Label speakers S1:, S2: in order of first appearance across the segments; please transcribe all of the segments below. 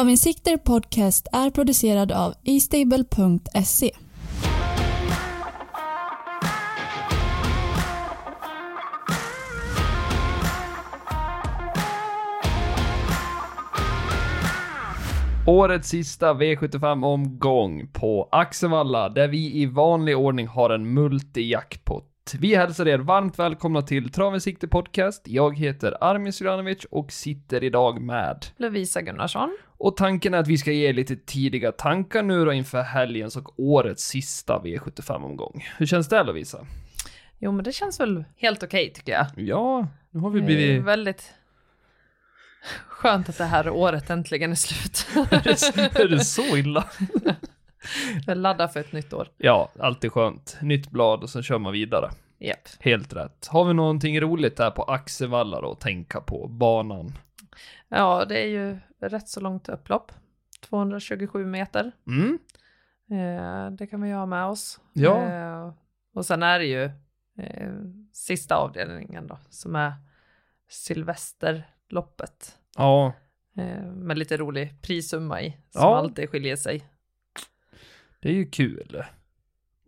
S1: Travinsikter Podcast är producerad av eStable.se.
S2: Årets sista V75-omgång på Axevalla, där vi i vanlig ordning har en multi-jackpot. Vi hälsar er varmt välkomna till Traven Sikte Podcast. Jag heter Armin Syranovic och sitter idag med.
S3: Lovisa Gunnarsson.
S2: Och tanken är att vi ska ge er lite tidiga tankar nu då inför helgens och årets sista V75-omgång. Hur känns det Lovisa?
S3: Jo, men det känns väl helt okej tycker jag.
S2: Ja, nu har vi
S3: Det är
S2: blivit...
S3: väldigt skönt att det här året äntligen är slut.
S2: Är det, är det så illa?
S3: Jag laddar för ett nytt år.
S2: Ja, alltid skönt. Nytt blad och sen kör man vidare.
S3: Japp.
S2: Helt rätt. Har vi någonting roligt här på Axevalla då att tänka på? Banan.
S3: Ja, det är ju rätt så långt upplopp. 227 meter.
S2: Mm.
S3: Eh, det kan vi ju ha med oss.
S2: Ja.
S3: Eh, och sen är det ju eh, sista avdelningen då, som är Sylvesterloppet.
S2: Ja,
S3: Eh, med lite rolig prissumma i, som
S2: Ja.
S3: alltid skiljer sig.
S2: det är ju kul.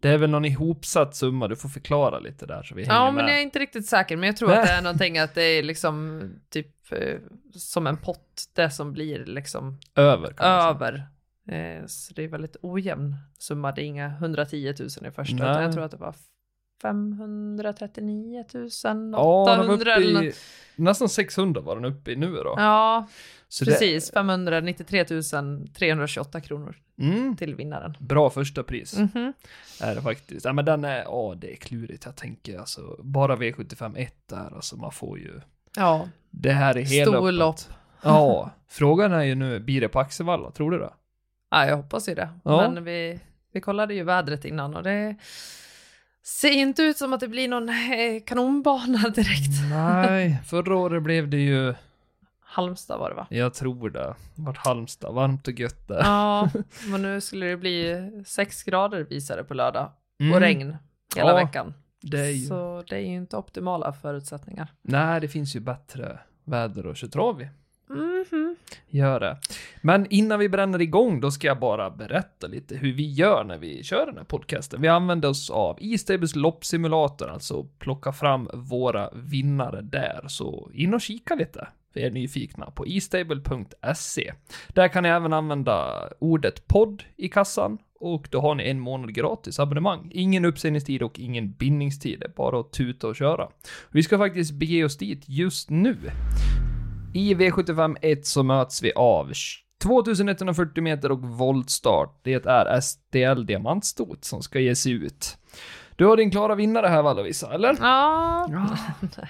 S2: Det är väl någon ihopsatt summa, du får förklara lite där så vi hänger
S3: Ja,
S2: med.
S3: men jag är inte riktigt säker, men jag tror
S2: Nej.
S3: att det är någonting att det är liksom typ eh, som en pott, det som blir liksom
S2: Över kan man säga.
S3: över. Eh, så det är väldigt ojämn summa, det är inga 110 000 i första,
S2: Nej.
S3: utan jag tror att det var 539 000, 800
S2: Ja, den var uppe
S3: eller
S2: i,
S3: något.
S2: nästan 600 var den uppe i nu då.
S3: Ja,
S2: Så
S3: precis. 593 328 kronor
S2: Det, mm,
S3: till vinnaren.
S2: bra första pris
S3: Mhm.
S2: är det faktiskt. Ja, men den är, ja det är klurigt. Jag tänker alltså, bara V75 1 där, alltså man får ju.
S3: Ja,
S2: Det här är hela
S3: storlopp.
S2: Ja, frågan är ju nu, blir det på Axevalla? Tror du det?
S3: Ja, jag hoppas ju det.
S2: Ja.
S3: Men vi, vi kollade ju vädret innan och det ser inte ut som att det blir någon eh, kanonbana direkt.
S2: Nej, förra året blev det ju,
S3: Halmstad var det va?
S2: jag tror det, vart Halmstad, varmt och gött där.
S3: Ja, men nu skulle det bli sex grader visade på lördag
S2: Mm,
S3: och regn hela
S2: Ja,
S3: veckan.
S2: Det är ju,
S3: Så det är ju inte optimala förutsättningar.
S2: nej det finns ju bättre väder och trav i.
S3: Mhm.
S2: Gör det. Men innan vi bränner igång, då ska jag bara berätta lite hur vi gör när vi kör den här podcasten. Vi använder oss av E-Stables loppsimulator, alltså plocka fram våra vinnare där, så in och kika lite för er nyfikna på estable.se. Där kan ni även använda ordet podd i kassan och då har ni en månad gratis abonnemang. Ingen uppsägningstid och ingen bindningstid, det är bara att tuta och köra. Vi ska faktiskt bege oss dit just nu. I V75 1 så möts vi av 2140 meter och voltstart. Det är STL Diamantstot som ska ge sig ut. Du har din klara vinnare här va Lovisa, eller?
S3: Ja,
S2: Ja.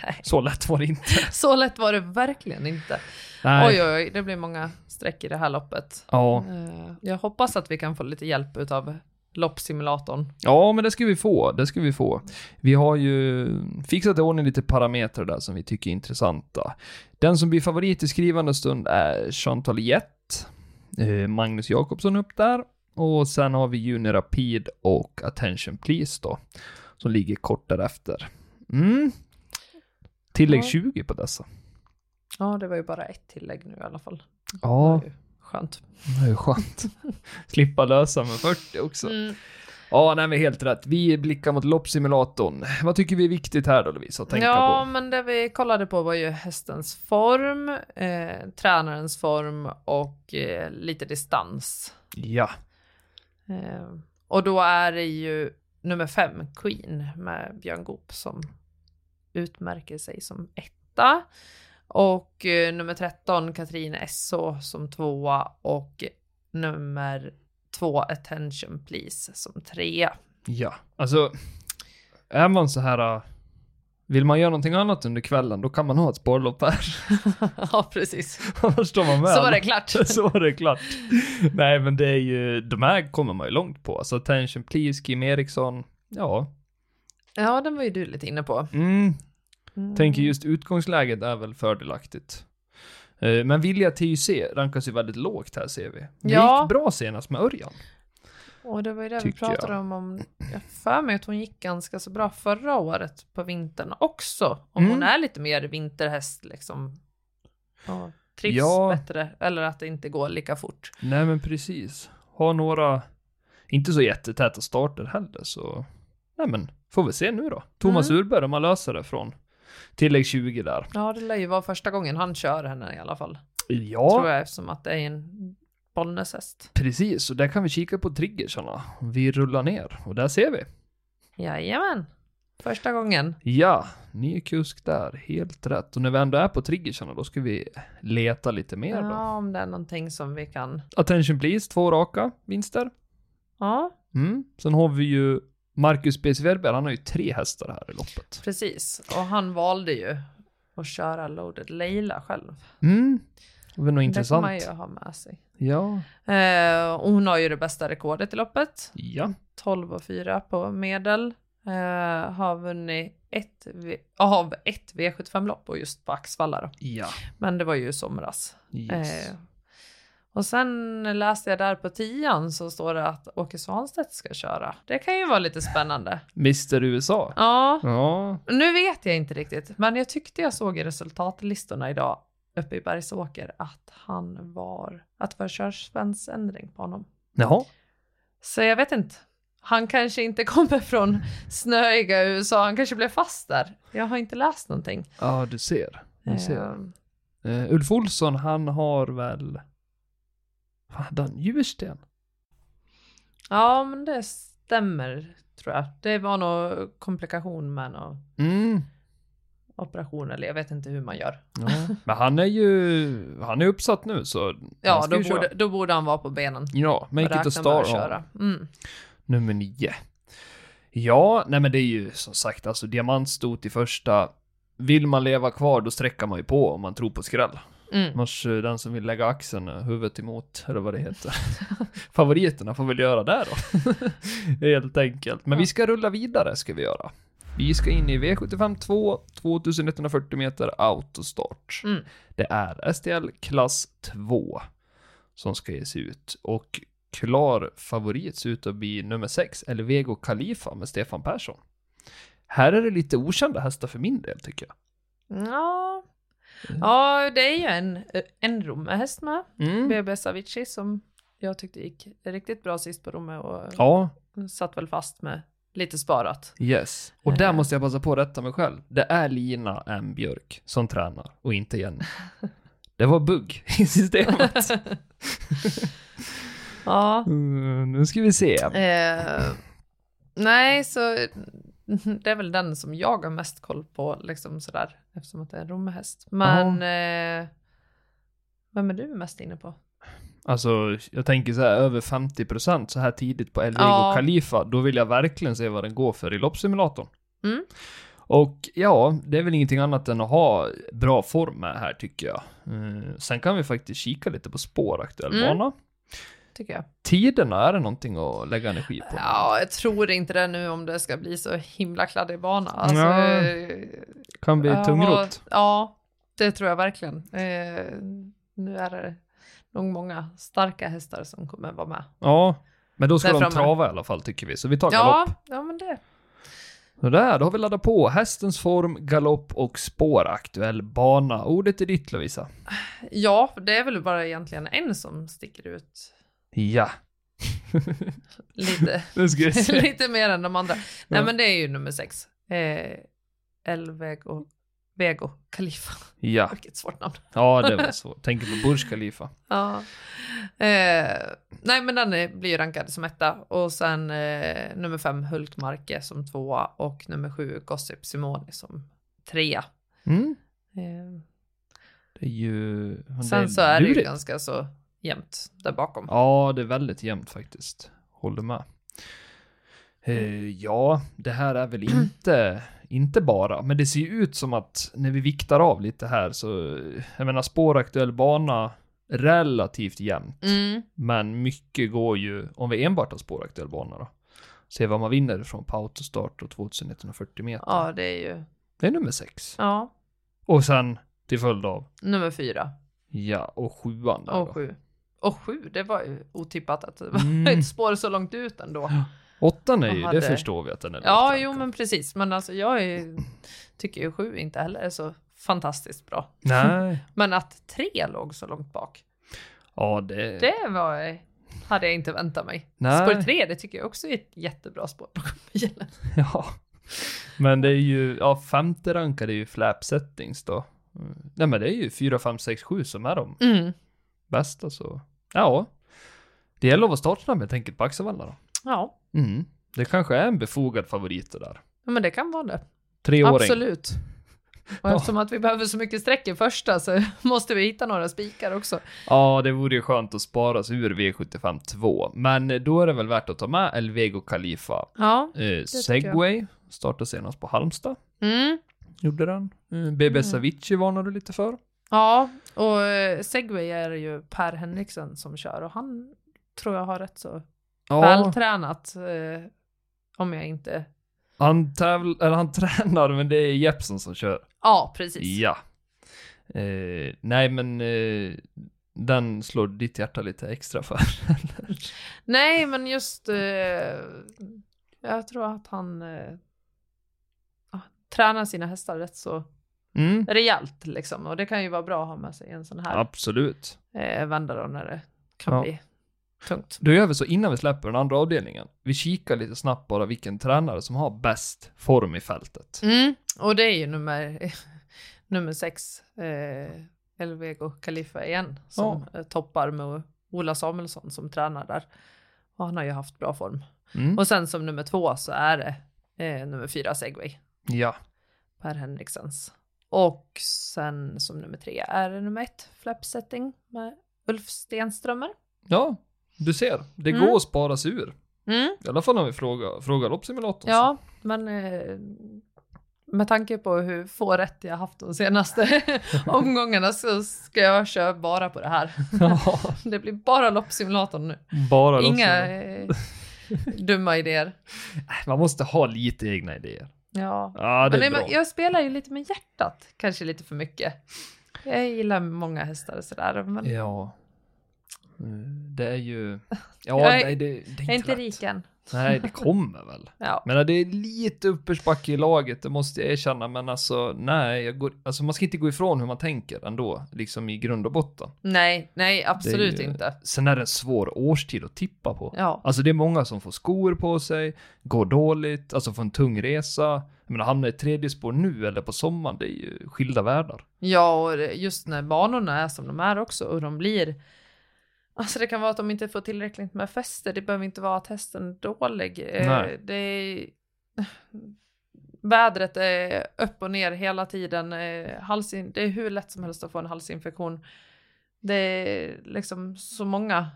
S3: nej.
S2: Så lätt var det inte.
S3: Så lätt var det verkligen inte. Oj, oj, oj, det blir många streck i det här loppet.
S2: Ja.
S3: Eh, Jag hoppas att vi kan få lite hjälp av loppsimulatorn.
S2: ja, men det ska vi få. Det ska vi få. Vi har ju fixat i ordning lite parametrar där som vi tycker är intressanta. Den som blir favorit i skrivande stund är Chantal Jett. Eh, Magnus Jakobsson upp där. Och sen har vi Junior Rapid och Attention Please då. Som ligger kort därefter. Mm. Tillägg
S3: Ja.
S2: 20 på dessa.
S3: Ja, det var ju bara ett tillägg nu i alla fall. Det
S2: Ja,
S3: var ju Skönt.
S2: det är ju skönt. Slippa lösa med 40 också.
S3: Mm.
S2: Ja, nej men helt rätt. Vi blickar mot loppsimulatorn. Vad tycker vi är viktigt här då Lovisa att tänka
S3: ja,
S2: på?
S3: men det vi kollade på var ju hästens form, eh, tränarens form och eh, lite distans.
S2: Ja.
S3: Eh, och då är det ju nummer fem, Queen, med Björn Goop som utmärker sig som etta. Och eh, nummer 13, Katrin Esso som tvåa och nummer två, Attention Please som trea.
S2: Ja. Alltså, är man så här... äh, Vill man göra någonting annat under kvällen, då kan man ha ett sparlopp här.
S3: ja, precis.
S2: Annars står man med.
S3: Så var det klart.
S2: så var det klart. Nej, men det är ju... De här kommer man ju långt på. Alltså, Attention Please, Kim Eriksson. Ja.
S3: Ja, den var ju du lite inne på.
S2: Mm.
S3: Mm.
S2: Tänker just utgångsläget är väl fördelaktigt. Eh, Men Vilja TUC rankas ju väldigt lågt här ser vi. Det
S3: Ja.
S2: gick bra senast med Örjan.
S3: Och det var ju det vi
S2: tycker jag.
S3: pratade om, om, jag för mig att hon gick ganska så bra förra året på vintern också. Om
S2: Mm.
S3: hon är lite mer vinterhäst liksom. Och trivs
S2: Ja.
S3: bättre eller att det inte går lika fort.
S2: Nej, men precis. Ha några, inte så jättetäta starter heller, så... Nej, men får vi se nu då. Thomas
S3: Mm.
S2: Urberg, om han löser det från tillägg 20 där.
S3: Ja, det lär ju vara första gången han kör henne i alla fall.
S2: Ja,
S3: Tror jag eftersom att det är en Bollnäshäst.
S2: precis. Och där kan vi kika på triggersarna. Vi rullar ner och där ser vi.
S3: Jajamän. Första gången.
S2: Ja, ny kusk där. Helt rätt. Och när vi ändå är på triggersarna, då ska vi leta lite mer då.
S3: Ja, om det är någonting som vi kan.
S2: Attention please, två raka vinster.
S3: Ja,
S2: Mm. Sen har vi ju Marcus B. Svedberg, han har ju tre hästar här i loppet.
S3: precis. Och han valde ju att köra loaded Leila själv.
S2: Mm. Det var nog
S3: Det kan man
S2: intressant.
S3: ju ha med sig.
S2: Ja.
S3: Eh, och hon har ju det bästa rekordet i loppet.
S2: Ja.
S3: 12 och 4 på medel. Eh, har vunnit ett, v- av ett V75-lopp och just på Axvalla då.
S2: Ja.
S3: Men det var ju i somras.
S2: Yes.
S3: Eh, och sen läste jag där på tian så står det att Åke Svanstedt ska köra. Det kan ju vara lite spännande.
S2: Mr USA.
S3: Ja,
S2: Ja.
S3: nu vet jag inte riktigt, men jag tyckte jag såg i resultatlistorna idag uppe i Bergsåker att han var, att det var körspänstsändring på honom.
S2: Jaha.
S3: Så jag vet inte. Han kanske inte kommer från snöiga USA, han kanske blev fast där. Jag har inte läst någonting.
S2: Ja, du ser. Du ser.
S3: Ehm,
S2: Eh, Ulf Olsson, han har väl... Vad hade han? Djursten?
S3: Ja, men det stämmer tror jag. Det var nog komplikation med någon
S2: Mm.
S3: operation eller jag vet inte hur man gör.
S2: Ja. Men han är ju... Han är uppsatt nu, så... han
S3: Ja,
S2: ska
S3: då
S2: ju köra.
S3: borde, då borde han vara på benen.
S2: Ja, Make it a
S3: Räkna med
S2: star.
S3: att
S2: ja.
S3: köra. Mm.
S2: Nummer nio. Ja, nej men det är ju som sagt alltså diamantstot i första. Vill man leva kvar då sträcker man ju på om man tror på skräll.
S3: Mm.
S2: Annars eh, den som vill lägga axeln eh, huvudet emot, eller vad det heter. Favoriterna får väl göra det då. Helt enkelt. Men vi ska rulla vidare, ska vi göra. Vi ska in i V75 2, 2140 meter autostart.
S3: Mm.
S2: Det är STL klass 2 som ska ge sig ut. Och klar favorit ser ut att bli nummer 6, Elvego Khalifa med Stefan Persson. Här är det lite okända hästar för min del, tycker jag.
S3: Ja. ja, det är ju en, en romahäst med.
S2: Mm.
S3: BB Savici som jag tyckte gick riktigt bra sist på Romme och
S2: Ja,
S3: satt väl fast med lite sparat.
S2: Yes. Och där
S3: Eh.
S2: måste jag passa på att rätta mig själv. Det är Lina M. Björk som tränar och inte Jenny. Det var bugg i systemet.
S3: Ja.
S2: Mm, nu ska vi se.
S3: Eh, nej, så det är väl den som jag har mest koll på, liksom sådär, eftersom att det är en romahäst. Men eh, vem är du mest inne på?
S2: Alltså, jag tänker så här, över 50% så här tidigt på Elvego
S3: Ja.
S2: Khalifa, då vill jag verkligen se vad den går för i loppsimulatorn.
S3: Mm.
S2: Och ja, det är väl ingenting annat än att ha bra form med här tycker jag. Mm, sen kan vi faktiskt kika lite på spår, aktuell
S3: Mm.
S2: bana.
S3: Tycker jag.
S2: Tiderna, är det någonting att lägga energi på?
S3: Ja, jag tror inte det nu om det ska bli så himla kladdig bana. Alltså,
S2: Ja.
S3: eh,
S2: Kan bli
S3: Ja,
S2: tungrot.
S3: Ja, det tror jag verkligen. Eh, nu är det nog många starka hästar som kommer vara med.
S2: Ja, men då ska
S3: Där
S2: de
S3: framme.
S2: trava i alla fall tycker vi, så vi tar
S3: Ja,
S2: galopp.
S3: ja, men det.
S2: Så där, då har vi laddat på. Hästens form, galopp och spår. Aktuell bana. Ordet är ditt Lovisa.
S3: ja, det är väl bara egentligen en som sticker ut
S2: Ja.
S3: lite,
S2: Nu ska vi se.
S3: lite mer än de andra. Nej,
S2: Ja.
S3: men det är ju nummer sex. Eh, Elvego Vego Khalifa.
S2: Ja,
S3: Vilket svårt namn.
S2: ja det var så. Tänker på Burj Khalifa.
S3: Ja. Eh, nej, men den är, blir ju rankad som etta. Och sen eh, nummer fem Hultmarke som tvåa och nummer sju Gossip Simoni som trea.
S2: Mm.
S3: Eh,
S2: Det är ju... det
S3: sen så är det ju
S2: lurigt.
S3: ganska så jämnt där bakom.
S2: Ja, det är väldigt jämnt faktiskt. Håller med. Eh,
S3: Mm.
S2: ja, det här är väl inte, inte bara, men det ser ju ut som att när vi viktar av lite här så, eh, jag menar spåraktuell bana relativt jämnt,
S3: Mm,
S2: men mycket går ju, om vi enbart har spåraktuell bana då, se vad man vinner från på autostart och 2140 meter.
S3: ja, det är ju...
S2: Det är nummer sex.
S3: Ja,
S2: Och sen till följd av,
S3: nummer fyra
S2: ja, och sjuan där
S3: och
S2: då.
S3: sju. Och sju, det var ju otippat att det var
S2: Mm.
S3: ett spår så långt ut ändå.
S2: Åttan är
S3: Vad
S2: ju,
S3: hade-
S2: det förstår vi att den är
S3: Ja,
S2: lågt
S3: jo
S2: rankad.
S3: men precis. Men alltså jag är, tycker ju sju inte heller är så fantastiskt bra.
S2: Nej.
S3: Men att tre låg så långt bak,
S2: Ja, det...
S3: det var, hade jag inte väntat mig.
S2: Nej.
S3: Spår tre, det tycker jag också är ett jättebra spår bakom bilen.
S2: Ja. Men det är ju, ja, femte rankade är ju flap settings då. Mm. Nej men det är ju 4, 5, 6, 7 som är de
S3: Mm.
S2: bästa så. Ja. Det gäller att vara startsnabb helt enkelt på Axevalla då.
S3: Ja,
S2: Mm. Det kanske är en befogad favorit det där.
S3: men det kan vara det.
S2: Treåring.
S3: Absolut. Och
S2: Ja.
S3: eftersom att vi behöver så mycket sträck i första så måste vi hitta några spikar också.
S2: Ja, det vore ju skönt att spara sig ur V75 2. Men då är det väl värt att ta med Elvego Khalifa.
S3: Ja.
S2: Eh,
S3: tycker
S2: Segway startade senast på Halmstad.
S3: Mm.
S2: Gjorde den. Eh, BB Savici varnade du lite för.
S3: Ja, och eh, Segway är det ju Per Henriksen som kör och han tror jag har rätt så vältränat. Eh, om jag inte...
S2: Han, tävl- eller han tränar, men det är Jeppson som kör.
S3: Ja, precis.
S2: Ja. Eh, nej, men eh, den slår ditt hjärta lite extra för.
S3: Nej, men just... Eh, jag tror att han eh, ah, tränar sina hästar rätt så
S2: mm.
S3: rejält liksom. Och det kan ju vara bra att ha med sig en sån här
S2: Absolut.
S3: eh, vända då när det kan
S2: Ja.
S3: bli tungt.
S2: Då gör vi så innan vi släpper den andra avdelningen. Vi kikar lite snabbt bara vilken tränare som har bäst form i fältet.
S3: Mm, och det är ju nummer, nummer sex, eh, Elvego Khalifa igen, som eh, toppar med Ola Samuelsson som tränar där. Och han har ju haft bra form.
S2: Mm.
S3: Och sen som nummer två så är det eh, nummer fyra Segway,
S2: Ja.
S3: Per Henriksens. Och sen som nummer tre är det nummer ett, Flap Setting med Ulf Stenströmer.
S2: ja, du ser. Det
S3: Mm.
S2: går att spara sig ur.
S3: Mm,
S2: I alla fall om vi frågar, frågar loppsimulatorn.
S3: ja, men eh, med tanke på hur få rätt jag haft de senaste omgångarna så ska jag köra bara på det här.
S2: Ja,
S3: Det blir bara loppsimulatorn nu.
S2: bara
S3: Inga
S2: loppsimulatorn.
S3: eh, dumma idéer.
S2: Man måste ha lite egna idéer.
S3: Ja.
S2: Ja, det
S3: Men
S2: är
S3: nej,
S2: bra.
S3: men jag spelar ju lite med hjärtat, kanske lite för mycket. Jag gillar många hästar och sådär, men
S2: Ja. Mm, Det är ju... Ja,
S3: Jag är-
S2: nej, det, det är
S3: jag är inte
S2: lätt.
S3: rik än.
S2: Nej, det kommer väl.
S3: Ja.
S2: Men det är lite uppförsbacke i laget, det måste jag erkänna. Men alltså, nej, jag går, alltså, man ska inte gå ifrån hur man tänker ändå, liksom i grund och botten.
S3: Nej, nej, absolut
S2: ju-
S3: inte.
S2: Sen är det en svår årstid att tippa på.
S3: Ja.
S2: Alltså det är många som får skor på sig, går dåligt, alltså får en tung resa. Jag menar, hamnar i tredje spår nu eller på sommaren, det är ju skilda världar.
S3: Ja, och det- just när banorna är som de är också och de blir... Alltså det kan vara att de inte får tillräckligt med fäste. Det behöver inte vara att hästen är dålig. Eh,
S2: Nej.
S3: Det är... Vädret är upp och ner hela tiden. Eh, Halsin... Det är hur lätt som helst att få en halsinfektion. Det är liksom så många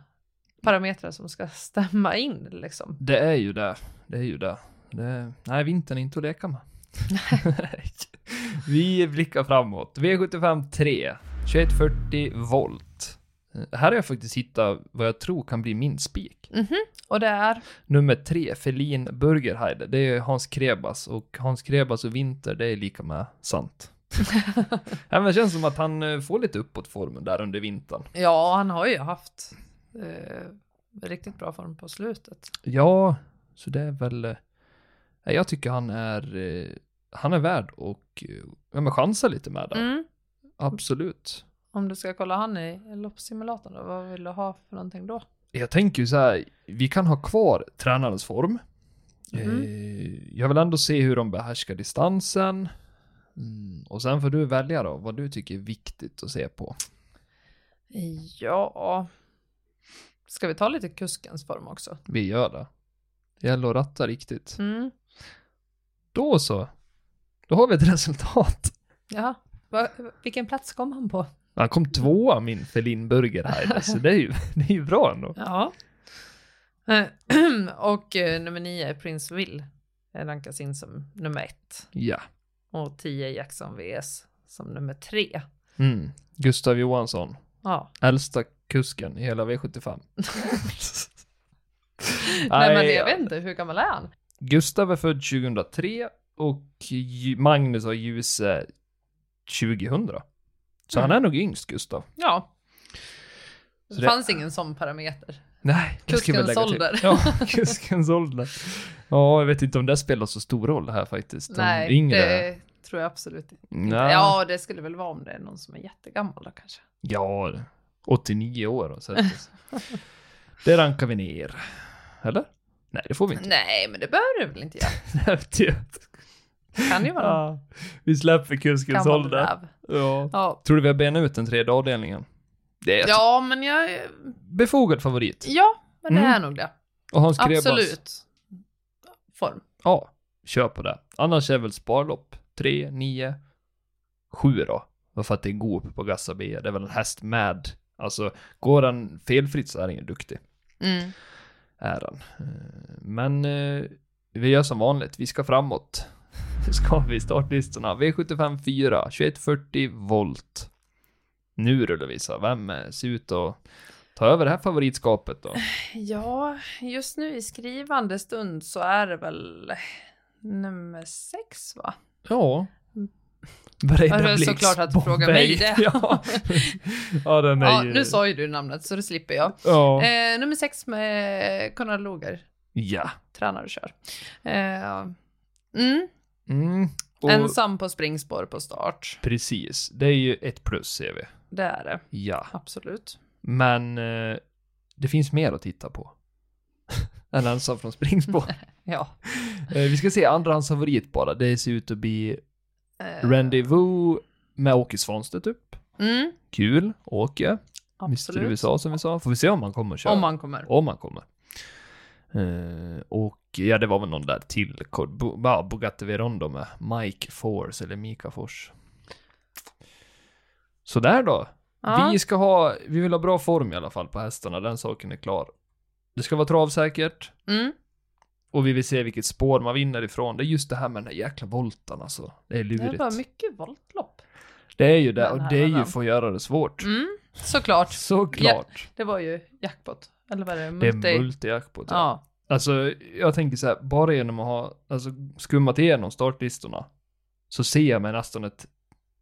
S3: parametrar som ska stämma in liksom.
S2: Det är ju det. Det är ju det. det nej, vintern är inte att leka med. Vi blickar framåt. V75 3, 2140 volt. Eh, Här har jag faktiskt hittat vad jag tror kan bli min spik.
S3: Och det är...
S2: Nummer tre, Felin Burgerheide. Det är Hans Krebas och Hans Krebas och Winter, det är lika med sant. Nej, men det känns som att han eh, får lite uppåt formen där under vintern.
S3: Ja, han har ju haft eh, riktigt bra form på slutet.
S2: Ja, så det är väl... eh, Jag tycker han är... eh, Han är värd och eh, ja, men chansa lite med där.
S3: Mm.
S2: Absolut.
S3: Om du ska kolla han i loppsimulatorn då, vad vill du ha för någonting då?
S2: Jag tänker ju så här, vi kan ha kvar tränarens form.
S3: Mhm.
S2: Eh, Jag vill ändå se hur de behärskar distansen. Mm, och sen får du välja då vad du tycker är viktigt att se på.
S3: Ja... Ska vi ta lite kuskens form också?
S2: Vi gör det. Det gäller att ratta riktigt.
S3: Mm.
S2: Då så. Då har vi ett resultat.
S3: Jaha. Va, vilken plats kom han på?
S2: Han kom tvåa min Felin Burger här, så det är ju, det är ju bra ändå.
S3: Ja. Eh, Och eh, nummer nio, Prince Will, eh, rankas in som nummer ett.
S2: Ja.
S3: Och tio, Jackson VS, som nummer tre.
S2: Mm. Gustav Johansson,
S3: Ja.
S2: äldsta kusken i hela V75.
S3: Nej, men jag vet inte, hur gammal är han?
S2: Gustav är född 2003 och Ju- Magnus och Ljuse 2000. Så
S3: Mm.
S2: han är nog yngst Gustav.
S3: Ja.
S2: Så
S3: Det
S2: det-
S3: fanns ingen sån parameter.
S2: Nej, det ska vi
S3: Kuskens
S2: lägga till.
S3: ålder.
S2: Ja, kuskens ålder. Ja, jag vet inte om det spelar så stor roll här faktiskt. De
S3: Nej,
S2: yngre.
S3: det tror jag absolut inte.
S2: Nej.
S3: Ja, det skulle väl vara om det är någon som är jättegammal då kanske.
S2: Ja, 89 år och så. att- det rankar vi ner. Eller? Nej, det får vi inte.
S3: Nej, men det behöver du väl inte göra. Det kan ju vara någon
S2: Ja, vi släpper kuskens
S3: gammal
S2: ålder.
S3: räv.
S2: Ja.
S3: Ja.
S2: Tror du vi har benat ut den tredje avdelningen? Det är
S3: ja, men jag...
S2: befogad favorit.
S3: Ja, men det
S2: Mm.
S3: är nog det.
S2: Och Hans Krebas.
S3: Absolut. Form.
S2: Ja, kör på det. Annars är väl sparlopp 3, 9, 7 då. Varför att det är Goop på Gassabia. Det är väl en häst med. Alltså, går han felfritt så är han ju duktig.
S3: Mm.
S2: Är han. Eh, Men eh, vi gör som vanligt. Vi ska framåt. Nu ska vi startlistorna. V75 4, 2140 volt. Nu rullar vi så. Vem eh, ser ut att ta över det här favoritskapet då?
S3: Ja, just nu i skrivande stund så är det väl nummer sex va?
S2: Ja. Breda
S3: Ja, det är
S2: Blix,
S3: såklart att du frågar
S2: Bombay.
S3: mig det.
S2: ja. ja, den är
S3: Ja,
S2: ju...
S3: nu sa ju du namnet så det slipper jag.
S2: Ja.
S3: Eh, nummer sex med Konrad Loger,
S2: ja.
S3: tränar och kör. Eh, mm,
S2: Mm. Och
S3: ensam på springspår på start.
S2: Precis. Det är ju ett plus, ser vi.
S3: Det är det,
S2: Ja.
S3: absolut.
S2: Men eh, det finns mer att titta på. Än ensam från springspår.
S3: Ja.
S2: eh, vi ska se andrahandsfavorit bara. Det ser ut att bli
S3: Eh,
S2: Rendezvous med Åke Svanstedt upp.
S3: Mm,
S2: Kul. Åke. Mr
S3: absolut.
S2: USA som vi sa. Får vi se om han kommer att köra.
S3: Om man kommer.
S2: Om han kommer. Eh, och ja, det var väl någon där till. Kod- Bo- ja, Bugatti Verondo med Mike Force eller Mika Fors. Så där då.
S3: Ja.
S2: Vi ska ha, vi vill ha bra form i alla fall på hästarna. Den saken är klar. Det ska vara travsäkert.
S3: Mm,
S2: Och vi vill se vilket spår man vinner ifrån. Det är just det här med den här jäkla voltan alltså. Det är
S3: det
S2: lurigt.
S3: var mycket voltlopp.
S2: Det är ju det,
S3: Den
S2: och
S3: här
S2: det är ju
S3: varann.
S2: för att göra det svårt.
S3: Mm, såklart.
S2: Såklart.
S3: Det var ju jackpot. Eller vad är det?
S2: Det
S3: Multi...
S2: är multijackpot. ja.
S3: Ja.
S2: Alltså, jag tänker så här, bara genom att ha alltså, skummat igenom startlistorna så ser jag mig nästan ett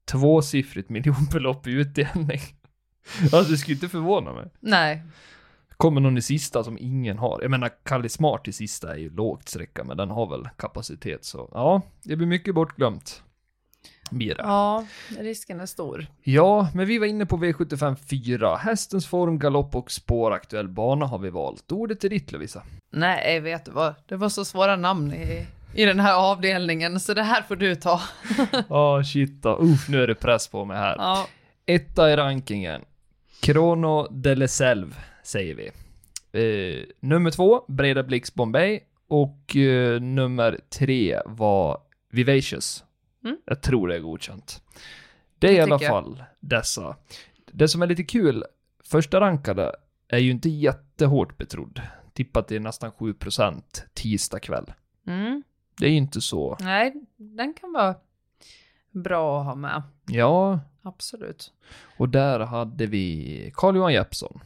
S2: tvåsiffrigt miljonbelopp i utdelning. Alltså, det skulle inte förvåna mig.
S3: Nej.
S2: Kommer någon i sista som ingen har. Jag menar, Kalle Smart i sista är ju lågt sträcka, men den har väl kapacitet så ja, det blir mycket bortglömt. Blir det.
S3: Ja, risken är stor.
S2: Ja, men vi var inne på V75 4. Hästens form, galopp och spår. Aktuell bana har vi valt. Ordet är ditt, Lovisa.
S3: Nej, vet du vad? Det var så svåra namn i, i den här avdelningen, så det här får du ta.
S2: Ja, Ah, shit då. Uff, nu är det press på mig här.
S3: Ja.
S2: Etta i rankingen. Crono de Leselv, säger vi. Eh, nummer två, Breda Blix Bombay. Och eh, nummer tre var Vivacious.
S3: Mm.
S2: Jag tror det är godkänt. Det är i
S3: Det
S2: alla
S3: tycker jag.
S2: fall dessa. Det som är lite kul, första rankade är ju inte jättehårt betrodd. Tippat till nästan 7% tisdag kväll.
S3: Mm.
S2: Det är ju inte så.
S3: Nej, den kan vara bra att ha med.
S2: Ja,
S3: Absolut.
S2: och där hade vi Carl-Johan Jeppsson.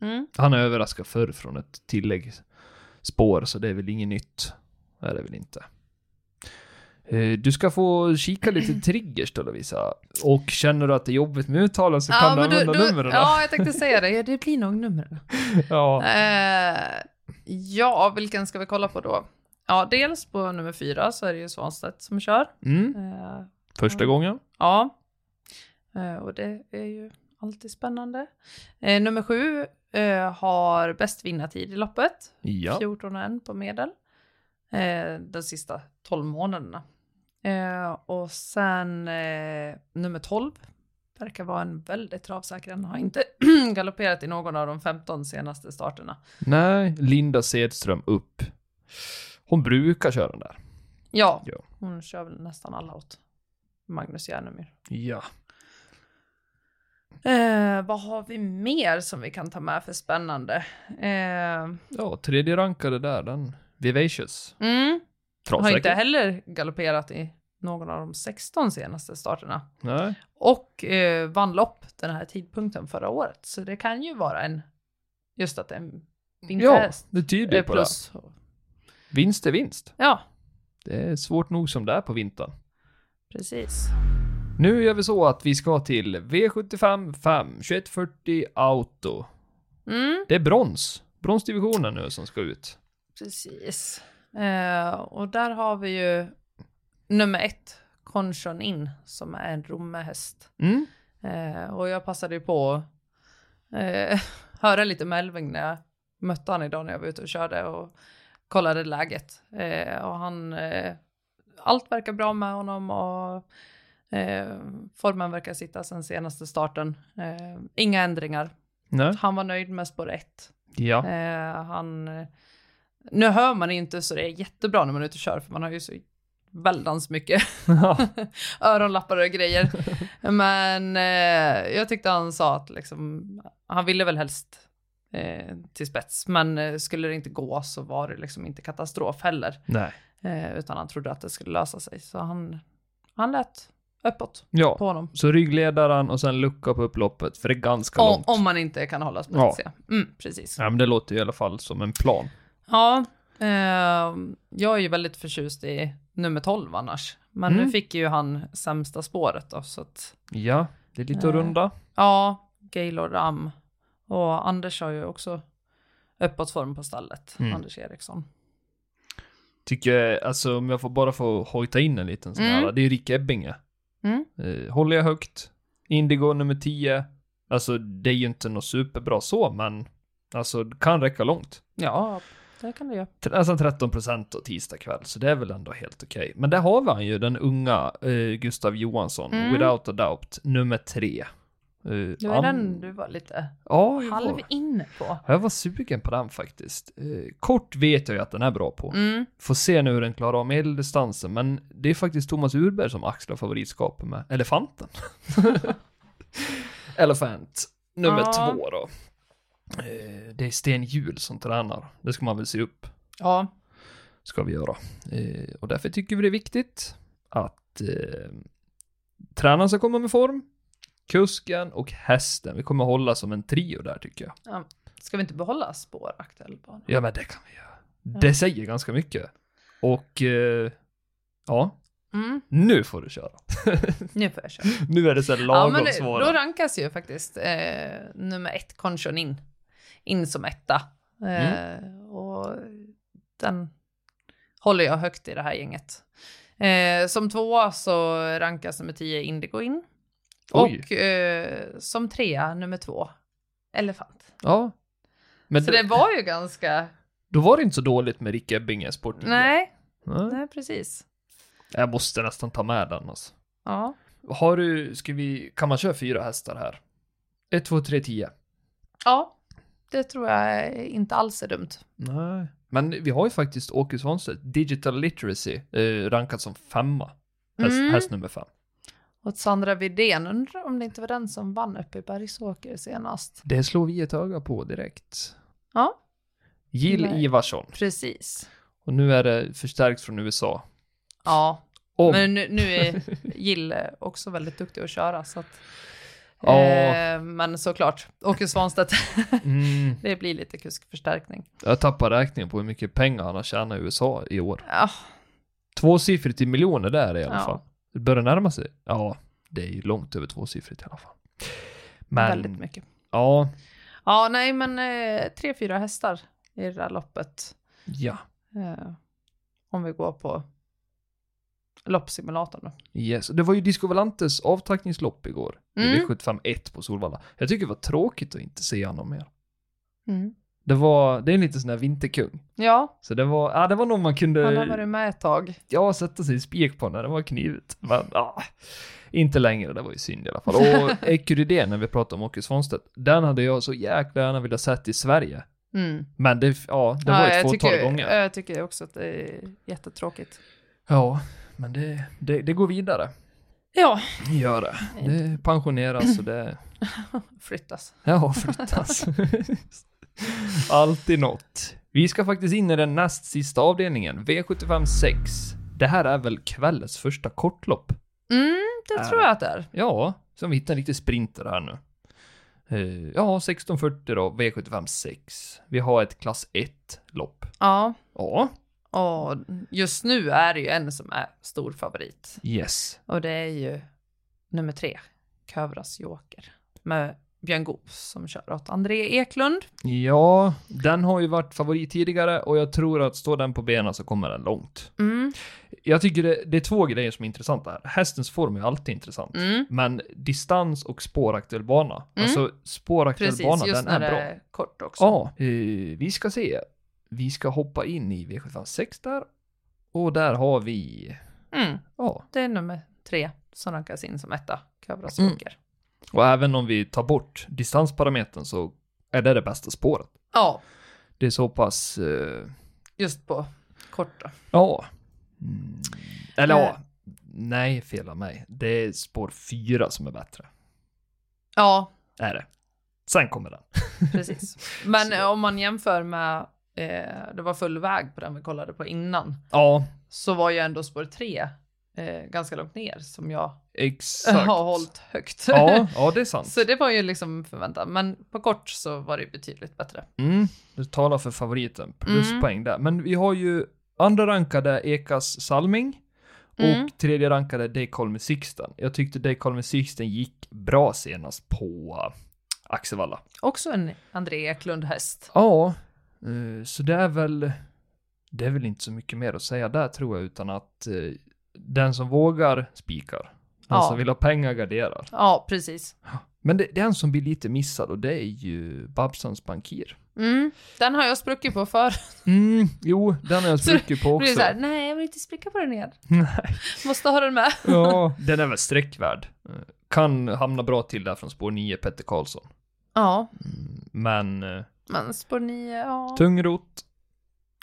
S3: Mm.
S2: Han har överraskat förr från ett tilläggsspår, så det är väl inget nytt. Det är det väl inte. Eh, Du ska få kika lite triggers då Lovisa. Och känner du att det är jobbigt med uttalen så kan du använda numren. Ja.
S3: ja, jag tänkte säga det. Ja, det blir nog numren.
S2: Ja.
S3: Eh, ja, vilken ska vi kolla på då? Ja, dels på nummer fyra så är det ju Svanstedt som kör.
S2: Mm,
S3: Eh,
S2: första gången.
S3: Ja, Eh, och det är ju alltid spännande. Eh, nummer sju eh, har bäst vinnartid i loppet,
S2: Ja.
S3: 14,1 på medel, eh, de sista 12 månaderna. Eh, och sen eh, nummer 12 verkar vara en väldigt travsäker, den har inte galopperat i någon av de 15 senaste starterna.
S2: Nej, Linda Sedström upp. Hon brukar köra den där.
S3: Ja,
S2: Ja.
S3: hon kör väl nästan alla åt Magnus Järnemyr.
S2: Ja.
S3: Eh, vad har vi mer som vi kan ta med för spännande? Eh,
S2: Ja, tredje rankade där, den. Vivacious.
S3: mm, har inte
S2: Travsäker.
S3: heller galopperat i någon av de 16 senaste starterna.
S2: Nej.
S3: Och eh, vann lopp den här tidpunkten förra året. Så det kan ju vara en... Just att det är en
S2: Ja,
S3: vinterhäst.
S2: det tyder ju
S3: eh,
S2: på det.
S3: plus.
S2: Vinst är vinst.
S3: Ja,
S2: Det är svårt nog som det är på vintern.
S3: precis.
S2: Nu gör vi så att vi ska till V75 5 2140 Auto.
S3: Mm,
S2: Det är brons. Bronsdivisionen nu som ska ut.
S3: precis. Eh, och där har vi ju nummer ett, Conchon In som är en romehäst.
S2: Mm.
S3: Eh, och jag passade ju på att eh, höra lite med Elving när jag mötte han idag när jag var ute och körde och kollade läget. Eh, och han, eh, allt verkar bra med honom och eh, formen verkar sitta sen senaste starten. Eh, inga ändringar.
S2: Nej.
S3: Han var nöjd med spår 1.
S2: Ja.
S3: Eh, han, nu hör man inte så det är jättebra när man är ute och kör för man har ju så väldans mycket öronlappar och grejer. Men eh, jag tyckte han sa att liksom, han ville väl helst eh, till spets, men eh, skulle det inte gå så var det liksom inte katastrof heller,
S2: Nej.
S3: eh, utan han trodde att det skulle lösa sig. Så han, han lät öppet
S2: Ja.
S3: på honom.
S2: Så ryggledaren och sen lucka på upploppet, för det är ganska
S3: Om,
S2: långt.
S3: om man inte kan hålla spets,
S2: Ja.
S3: ja. Mm, precis.
S2: Ja, men det låter ju i alla fall som en plan.
S3: Ja, eh, jag är ju väldigt förtjust i nummer 12 annars. Men
S2: Mm.
S3: nu fick ju han sämsta spåret då, så att
S2: Ja, det är lite att
S3: Eh.
S2: runda.
S3: ja, Gaylord Am. Och Anders har ju också uppåtform på stallet,
S2: Mm.
S3: Anders Eriksson.
S2: Tycker jag, alltså om jag får bara få hojta in en liten sån här.
S3: Mm.
S2: Det är Rick Ebbinge.
S3: Mm.
S2: Eh, håller jag högt. Indigo nummer 10. Alltså det är ju inte något superbra så, men alltså det kan räcka långt.
S3: Ja, det kan du göra.
S2: T- Nästan 13 alltså procent och tisdag kväll, så det är väl ändå helt okej. Men där har vi han ju, den unga eh, Gustav Johansson,
S3: Mm.
S2: without a doubt, nummer 3. Uh,
S3: Det var den du var lite
S2: ja, jag
S3: halv
S2: var,
S3: inne på.
S2: jag var sugen på den faktiskt. Eh, kort vet jag ju att den är bra på.
S3: Mm.
S2: Får se nu hur den klarar av medeldistansen, men det är faktiskt Thomas Urberg som axlar favoritskapet med elefanten. Elefant, nummer
S3: Ja.
S2: två då. Eh, Det är Sten Hjul som tränar. Det ska man väl se upp,
S3: Ja,
S2: ska vi göra. Eh, Och därför tycker vi det är viktigt att eh, tränaren ska komma med form, kusken och hästen. Vi kommer hålla som en trio där tycker jag.
S3: ska vi inte behålla spår aktuell bana?
S2: Ja, men det kan vi göra. Det säger ganska mycket. Och eh, ja,
S3: Mm.
S2: nu får du köra.
S3: Nu får jag köra.
S2: Nu är det så här
S3: Ja,
S2: lagom
S3: men det,
S2: svåra.
S3: då rankas ju faktiskt eh, nummer ett, Conchon in. In som etta. Eh,
S2: Mm.
S3: Och den håller jag högt i det här gänget. Eh, som tvåa så rankas nummer tio Indigo in.
S2: Oj.
S3: Och eh, som trea nummer två Elefant.
S2: Ja. Men
S3: så
S2: då-
S3: det var ju ganska...
S2: då var det inte så dåligt med Rick Ebbinges portugis.
S3: Nej,
S2: Nej.
S3: nej precis.
S2: Jag måste nästan ta med den alltså.
S3: Ja.
S2: Har du, ska vi, kan man köra fyra hästar här? 1, 2, 3, 10.
S3: ja, det tror jag inte alls är dumt.
S2: Nej. Men vi har ju faktiskt Åke Svanstedt, Digital Literacy, eh, rankad som femma. Häst,
S3: Mm.
S2: häst nummer fem.
S3: Och Sandra Widén, undrar om det inte var den som vann uppe i Bergsåker senast.
S2: Det slår vi ett öga på direkt.
S3: Ja.
S2: Jill
S3: Nej.
S2: Ivarsson.
S3: Precis.
S2: Och nu är det förstärkt från USA.
S3: Ja,
S2: Om
S3: men nu, nu är Jill också väldigt duktig att köra så att...
S2: Ja.
S3: Eh, men såklart, Åke Svanstedt,
S2: Mm,
S3: det blir lite kuskförstärkning.
S2: jag tappar räkningen på hur mycket pengar han har tjänat i USA i år.
S3: Ja,
S2: Tvåsiffrigt i miljoner där i alla
S3: Ja.
S2: fall. Det börjar närma sig. Ja, det är ju långt över tvåsiffrigt i alla fall. Men,
S3: väldigt mycket.
S2: ja,
S3: Ja, nej men eh, tre, fyra hästar i det där loppet.
S2: ja,
S3: Eh, om vi går på loppsimulatorn då.
S2: yes. Det var ju Disco Volantes avtackningslopp igår.
S3: Mm.
S2: Mm. 75-1 på Solvalla. Jag tycker det var tråkigt att inte se honom mer.
S3: Mm.
S2: Det var, det är en liten sån här vinterkung.
S3: Ja,
S2: Så det var, ja det var någon man
S3: han har
S2: kunde,
S3: varit med ett tag.
S2: ja sätta sig i spik på när det var knivigt. Men ja, inte längre, det var ju synd i alla fall. Och Ecurydén, när vi pratade om Åke Svanstedt, den hade jag så jäkla gärna velat sett i Sverige.
S3: Mm.
S2: Men det, ja, det var
S3: Ja,
S2: ett
S3: jag
S2: fåtal
S3: tycker,
S2: gånger.
S3: Jag tycker också att det är jättetråkigt.
S2: Ja, men det, det, det går vidare.
S3: Ja,
S2: Gör det. Det pensioneras och det...
S3: flyttas.
S2: Ja, flyttas. Alltid något. Vi ska faktiskt in i den näst sista avdelningen, V75 6. Det här är väl kvällens första kortlopp?
S3: Mm, det
S2: Är
S3: tror jag att det är.
S2: Ja, som vi hittar en riktig sprinter här nu. Eh, Ja, 16.40 då, V75 6. Vi har ett klass 1-lopp.
S3: Ja,
S2: Ja.
S3: och just nu är det ju en som är stor favorit.
S2: Yes.
S3: Och det är ju nummer tre, Kövras Joker. Med Björn Goop som kör åt André Eklund.
S2: Ja, den har ju varit favorit tidigare och jag tror att står den på benen så kommer den långt.
S3: Mm.
S2: Jag tycker det, det är två grejer som är intressanta här. Hästens form är ju alltid intressant.
S3: Mm.
S2: Men distans och spåraktuell bana.
S3: Mm.
S2: Alltså spåraktuell
S3: Precis,
S2: bana, den
S3: just när
S2: är
S3: det
S2: bra.
S3: är kort också.
S2: Ja, eh, vi ska se. Vi ska hoppa in i V756 där. Och där har vi,
S3: Mm.
S2: ja.
S3: Det är nummer tre som rankas in som etta,
S2: Mm.
S3: Kavrasåker.
S2: Och även om vi tar bort distansparametern så är det det bästa spåret.
S3: Ja,
S2: Det är så pass, eh,
S3: just på kort då.
S2: ja. Mm. Eller
S3: Eh.
S2: ja. Nej, fel av mig. Det är spår fyra som är bättre.
S3: Ja,
S2: Är det. Sen kommer den.
S3: precis. Men
S2: Så.
S3: eh, om man jämför med, eh, det var full väg på den vi kollade på innan,
S2: Ja,
S3: så var ju ändå spår tre eh, ganska långt ner som jag
S2: exakt.
S3: har hållit högt.
S2: Ja, ja, det är sant.
S3: så det var ju liksom förväntat, men på kort så var det ju betydligt bättre.
S2: Mm, du talar för favoriten.
S3: Mm.
S2: Pluspoäng där. Men vi har ju andra rankade Ekas Salming och
S3: Mm.
S2: tredje rankade Daycall med Sixten. Jag tyckte Daycall med Sixten gick bra senast på eh, Axevalla.
S3: Också en André Eklund-häst.
S2: Ja, eh, så det är väl det är väl inte så mycket mer att säga där tror jag utan att eh, den som vågar spikar. Den
S3: Ja.
S2: som vill ha pengar garderar.
S3: Ja, precis.
S2: Men det, den som blir lite missad och det är ju Babsons Bankir.
S3: Mm. Den har jag spruckit på för.
S2: Mm, jo, den har jag
S3: Så
S2: spruckit på
S3: Då blir det
S2: också.
S3: så här, nej jag vill inte spricka på den igen.
S2: Nej.
S3: Måste ha den med.
S2: Ja. Den är väl sträckvärd. Eh, Kan hamna bra till där från spår 9, Petter Karlsson.
S3: Ja,
S2: Mm, Men eh,
S3: men spår 9, ja.
S2: Typ. tungrot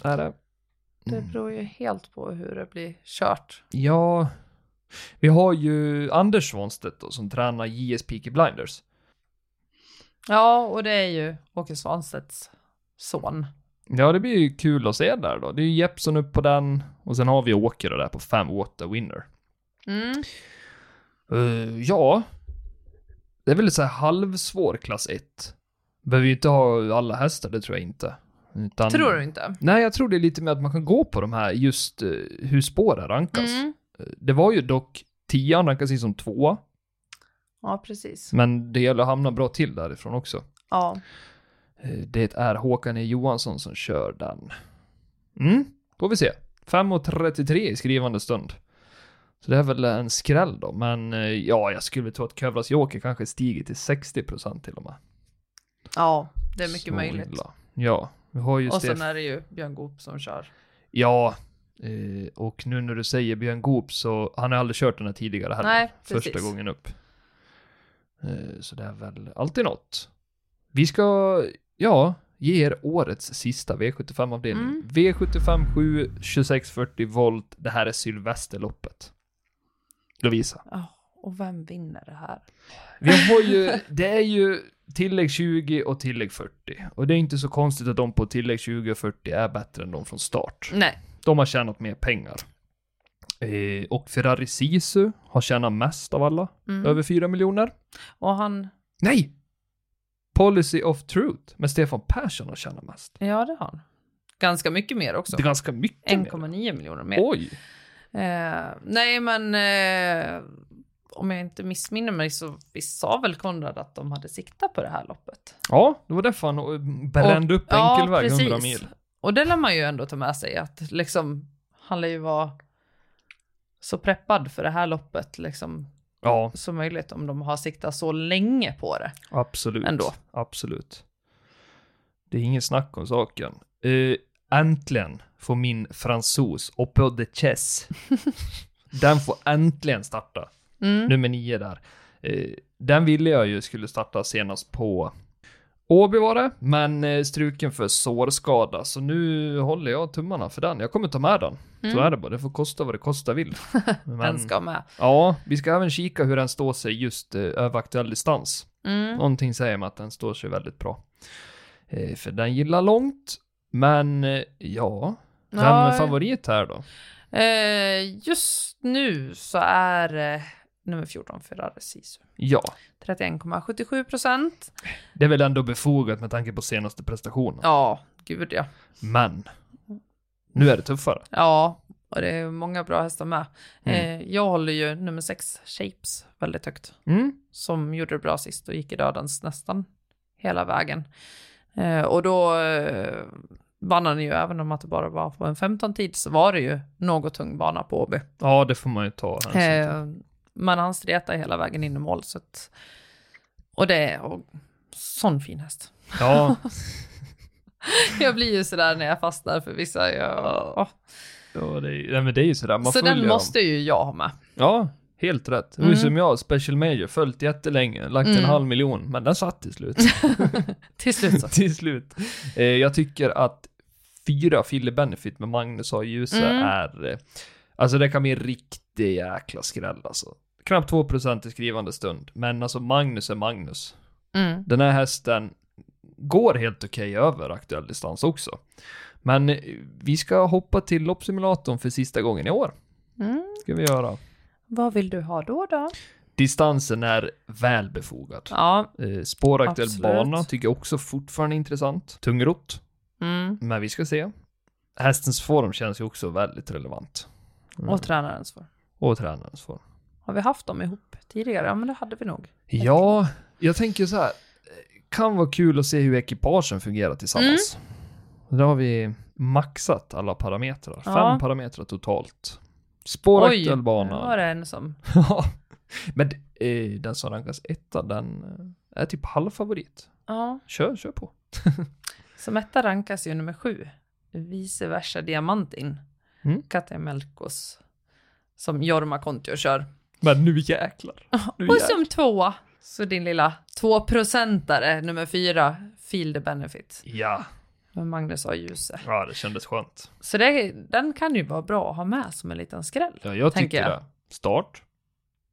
S2: är det.
S3: Det
S2: Mm.
S3: beror ju helt på hur det blir kört.
S2: Ja, vi har ju Anders Svanstedt då, som tränar JS Peaky Blinders.
S3: Ja, och det är ju Åke Svanstedts son.
S2: Ja, det blir ju kul att se där då. Det är ju Jeppson upp på den och sen har vi Åker där på 5 Water Winner.
S3: Mm.
S2: Eh, ja, det är väl så här halvsvår klass 1. Behöver ju inte ha alla hästar, det tror jag inte. Utan...
S3: Tror du inte?
S2: Nej, jag tror det är lite mer att man kan gå på de här just eh, hur spåren rankas.
S3: Mm.
S2: Det var ju dock tian rankas in som tvåa,
S3: Ja, precis.
S2: men det gäller att hamna bra till därifrån också.
S3: Ja.
S2: Eh, Det är Håkan E Johansson som kör den. Mm, får vi se. 5.33 i skrivande stund. Så det är väl en skräll då, men eh, ja, jag skulle tro att Kövlas Joker kanske stiger till 60% till och med.
S3: ja, det är mycket
S2: Så
S3: möjligt.
S2: illa. Ja, vi har ju
S3: och sen
S2: Stef-
S3: är det ju Björn Goop som kör.
S2: Ja, eh, och nu när du säger Björn Goop så han har aldrig kört den här tidigare heller.
S3: Nej, precis.
S2: första gången upp. Eh, så det är väl alltid något. Vi ska, ja, ge er årets sista V75-avdelning.
S3: Mm.
S2: V75 7, 2640 volt. Det här är Sylvesterloppet. Lovisa.
S3: Ja, och vem vinner det här?
S2: Vi har ju, det är ju tillägg 20 och tillägg 40. Och det är inte så konstigt att de på tillägg 20 och 40 är bättre än de från start.
S3: Nej.
S2: De har tjänat mer pengar. Eh, och Ferrari Sisu har tjänat mest av alla.
S3: Mm.
S2: Över 4 miljoner.
S3: Och han,
S2: Nej! Policy of Truth med Stefan Persson har tjänat mest.
S3: ja det har han. Ganska mycket mer också.
S2: Det är ganska mycket mer.
S3: 1,9 miljoner mer.
S2: Oj!
S3: Eh, nej, men eh, om jag inte missminner mig så visst sa väl Konrad att de hade siktat på det här loppet?
S2: Ja, det var därför han eh, brände upp enkelväg 100 mil.
S3: Och det lär man ju ändå ta med sig att liksom, han lär ju vara så preppad för det här loppet liksom
S2: Ja,
S3: som möjligt om de har siktat så länge på det.
S2: absolut.
S3: Ändå.
S2: Absolut. Det är ingen snack om saken. Eh, äntligen får min fransos, Opo de Chess, den får äntligen starta.
S3: Mm.
S2: nummer nio där. Eh, Den ville jag ju skulle starta senast på Åby var det, men eh, struken för sårskada, så nu håller jag tummarna för den. Jag kommer ta med den. Så
S3: Mm.
S2: är det bara, det får kosta vad det kosta vill. Men,
S3: Den ska med.
S2: Ja, vi ska även kika hur den står sig just eh, över aktuell distans.
S3: Mm.
S2: Någonting säger mig att den står sig väldigt bra. Eh, För den gillar långt, men eh, ja, vem är
S3: Ja,
S2: favorit här då?
S3: eh, just nu så är eh, nummer 14 Ferrari Sisu.
S2: Ja,
S3: 31,77 procent.
S2: det är väl ändå befogat med tanke på senaste prestationen.
S3: Ja, gud ja.
S2: Men nu är det tuffare.
S3: Ja, Och det är många bra hästar med.
S2: Mm.
S3: Eh, jag håller ju nummer sex, Shapes, väldigt högt.
S2: Mm.
S3: Som gjorde det bra sist och gick i dödens nästan hela vägen. Eh, och då eh, vann han ju, även om att det bara var på en 15-tid, så var det ju något tung bana på Åby.
S2: Ja, det får man ju ta. hänsyn till.
S3: Eh, men han stretade hela vägen in i mål. Så att, och det är och, sån fin häst.
S2: Ja,
S3: jag blir ju sådär när jag fastnar för vissa. Jag, åh.
S2: ja det, är- nej, men det är ju sådär. Man
S3: så den
S2: följer
S3: måste ju jag ha med.
S2: dem. Ja, helt rätt. Det var ju
S3: Mm.
S2: som jag, Special Major, följt jättelänge, lagt en
S3: Mm.
S2: halv miljon, men den satt till slut.
S3: Till slut så.
S2: till slut. Eh, jag tycker att fyra Fille Benefit med Magnus A. Djuse
S3: Mm.
S2: är... Eh, alltså det kan bli en riktig jäkla skräll alltså. Knappt 2% i skrivande stund, men alltså Magnus är Magnus.
S3: Mm.
S2: Den här hästen går helt okej över aktuell distans också. Men eh, vi ska hoppa till loppsimulatorn för sista gången i år.
S3: Mm.
S2: Ska vi göra.
S3: Vad vill du ha då då?
S2: Distansen är välbefogad.
S3: Ja.
S2: Eh, Spåraktuell
S3: Absolut.
S2: bana tycker jag också fortfarande är intressant. Tungrott.
S3: Mm.
S2: Men vi ska se. Hästens form känns ju också väldigt relevant. Mm.
S3: Och tränarens form.
S2: Och tränarens form.
S3: Har vi haft dem ihop tidigare? Ja, men det hade vi nog.
S2: Ja, jag tänker så här. Kan vara kul att se hur ekipagen fungerar tillsammans. Där har vi maxat alla parametrar.
S3: Mm. Ja.
S2: Fem parametrar totalt. Spåraktuell
S3: nu var
S2: bana.
S3: det en som...
S2: Ja. Men eh, den som rankas etta, den eh, är typ halvfavorit.
S3: Ja.
S2: Kör, kör på.
S3: Som etta rankas ju nummer sju, vice versa diamantin,
S2: Mm.
S3: Katja Melkos, som Jorma Kontio kör.
S2: Men nu jäklar. Nu
S3: Och
S2: jäklar.
S3: som tvåa, så din lilla tvåprocentare, nummer fyra, Feel the Benefit,
S2: Ja.
S3: med Magnus A. Djuse.
S2: ja, det kändes skönt.
S3: Så det, den kan ju vara bra att ha med som en liten skräll.
S2: Ja, jag
S3: Tänker
S2: tycker
S3: jag.
S2: det. Start.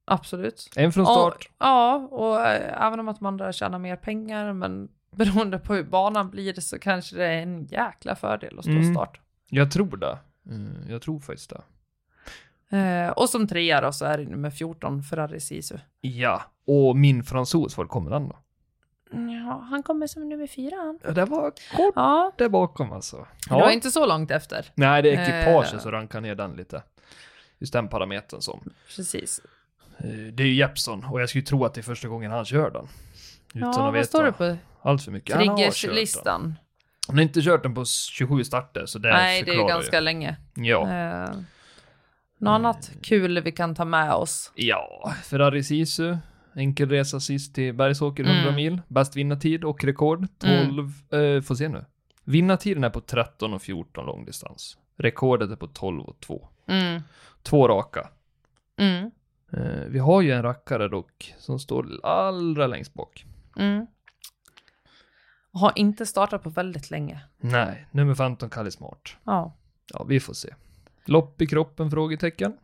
S3: Absolut.
S2: En från start.
S3: Och, ja, och eh, även om att man där tjänar mer pengar, men beroende på hur banan blir så kanske det är en jäkla fördel att stå
S2: Mm.
S3: start.
S2: Jag tror det. Mm, jag tror faktiskt det.
S3: Eh, och som trea då så är det nummer 14, Ferrari Sisu.
S2: Ja, och min fransos, var kommer den då?
S3: Ja, han kommer som nummer fyra han.
S2: Ja, det var kort
S3: Ja,
S2: där bakom alltså.
S3: det var
S2: Ja.
S3: inte så långt efter.
S2: Nej, det är ekipagen
S3: Eh.
S2: så rankar ner den lite. Just den parametern som.
S3: Precis.
S2: eh, Det är ju Jeppson och jag skulle tro att det är första gången han kör den. Utan
S3: Ja,
S2: att
S3: vad
S2: veta
S3: står det på
S2: allt för mycket. Han har kört den.
S3: triggerslistan?
S2: Han har inte kört den på 27 starter så det
S3: Nej, det är
S2: förklarar
S3: ganska länge.
S2: ju. Ja. Mm.
S3: Eh, något annat kul vi kan ta med oss?
S2: Ja, Ferrari Sisu. Enkel resa sist till Bergsåker 100
S3: Mm.
S2: mil. Bäst vinnartid och rekord 12. Eh, får se nu. Vinnartiden är på 13 och 14 långdistans. Rekordet är på 12 och 2.
S3: Mm.
S2: Två raka.
S3: Mm.
S2: Eh, vi har ju en rackare dock som står allra längst bak.
S3: Mm. Har inte startat på väldigt länge.
S2: Nej, nummer 15 Kalle Smart.
S3: Ja.
S2: Ja, vi får se. Lopp i kroppen? Frågetecken.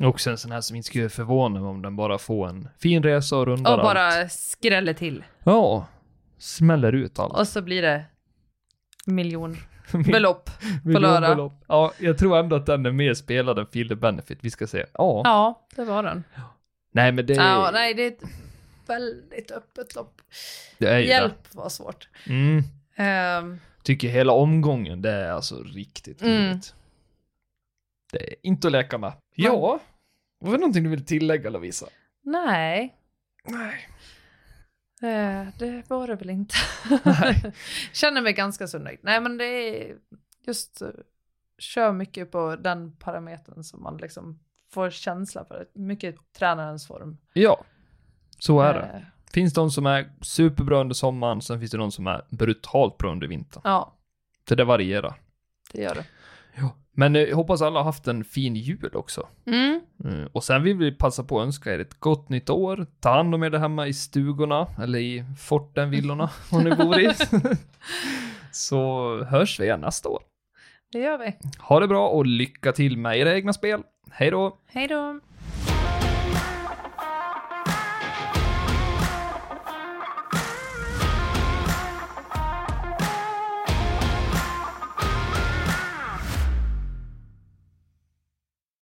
S2: Också en sån här som inte skulle förvåna mig om den bara får en fin resa och rundar
S3: Och
S2: allt.
S3: bara skräller till.
S2: Ja, smäller ut allt.
S3: Och så blir det miljonbelopp.
S2: Miljonbelopp.
S3: lördag.
S2: Ja, jag tror ändå att den är mer spelad än Feel the Benefit. Vi ska se. Ja.
S3: Ja, det var den.
S2: Nej, men det,
S3: Ja, nej, det är ett väldigt öppet lopp.
S2: det är ju
S3: Hjälp vad svårt.
S2: det. Mm.
S3: Ehm,
S2: Tycker hela omgången, det är alltså riktigt
S3: Mm.
S2: roligt. Det är inte att leka med. Ja, var det någonting du vill tillägga Lovisa?
S3: nej,
S2: Nej.
S3: eh, det var det väl inte.
S2: Nej.
S3: Känner mig ganska så nöjd. Nej, men det är just eh, kör mycket på den parametern som man liksom får känsla för. Mycket tränarens form.
S2: Ja, så är det.
S3: Eh,
S2: finns de som är superbra under sommaren, sen finns det de som är brutalt bra under vintern.
S3: Ja,
S2: Så det varierar.
S3: det gör det.
S2: Men eh, jag hoppas alla har haft en fin jul också.
S3: Mm.
S2: Mm. Och sen vill vi passa på att önska er ett gott nytt år. Ta hand om er där hemma i stugorna, eller i forten, villorna, om ni bor i. Så hörs vi igen nästa år.
S3: Det gör vi.
S2: Ha det bra och lycka till med era egna spel. Hej då!
S3: Hej då!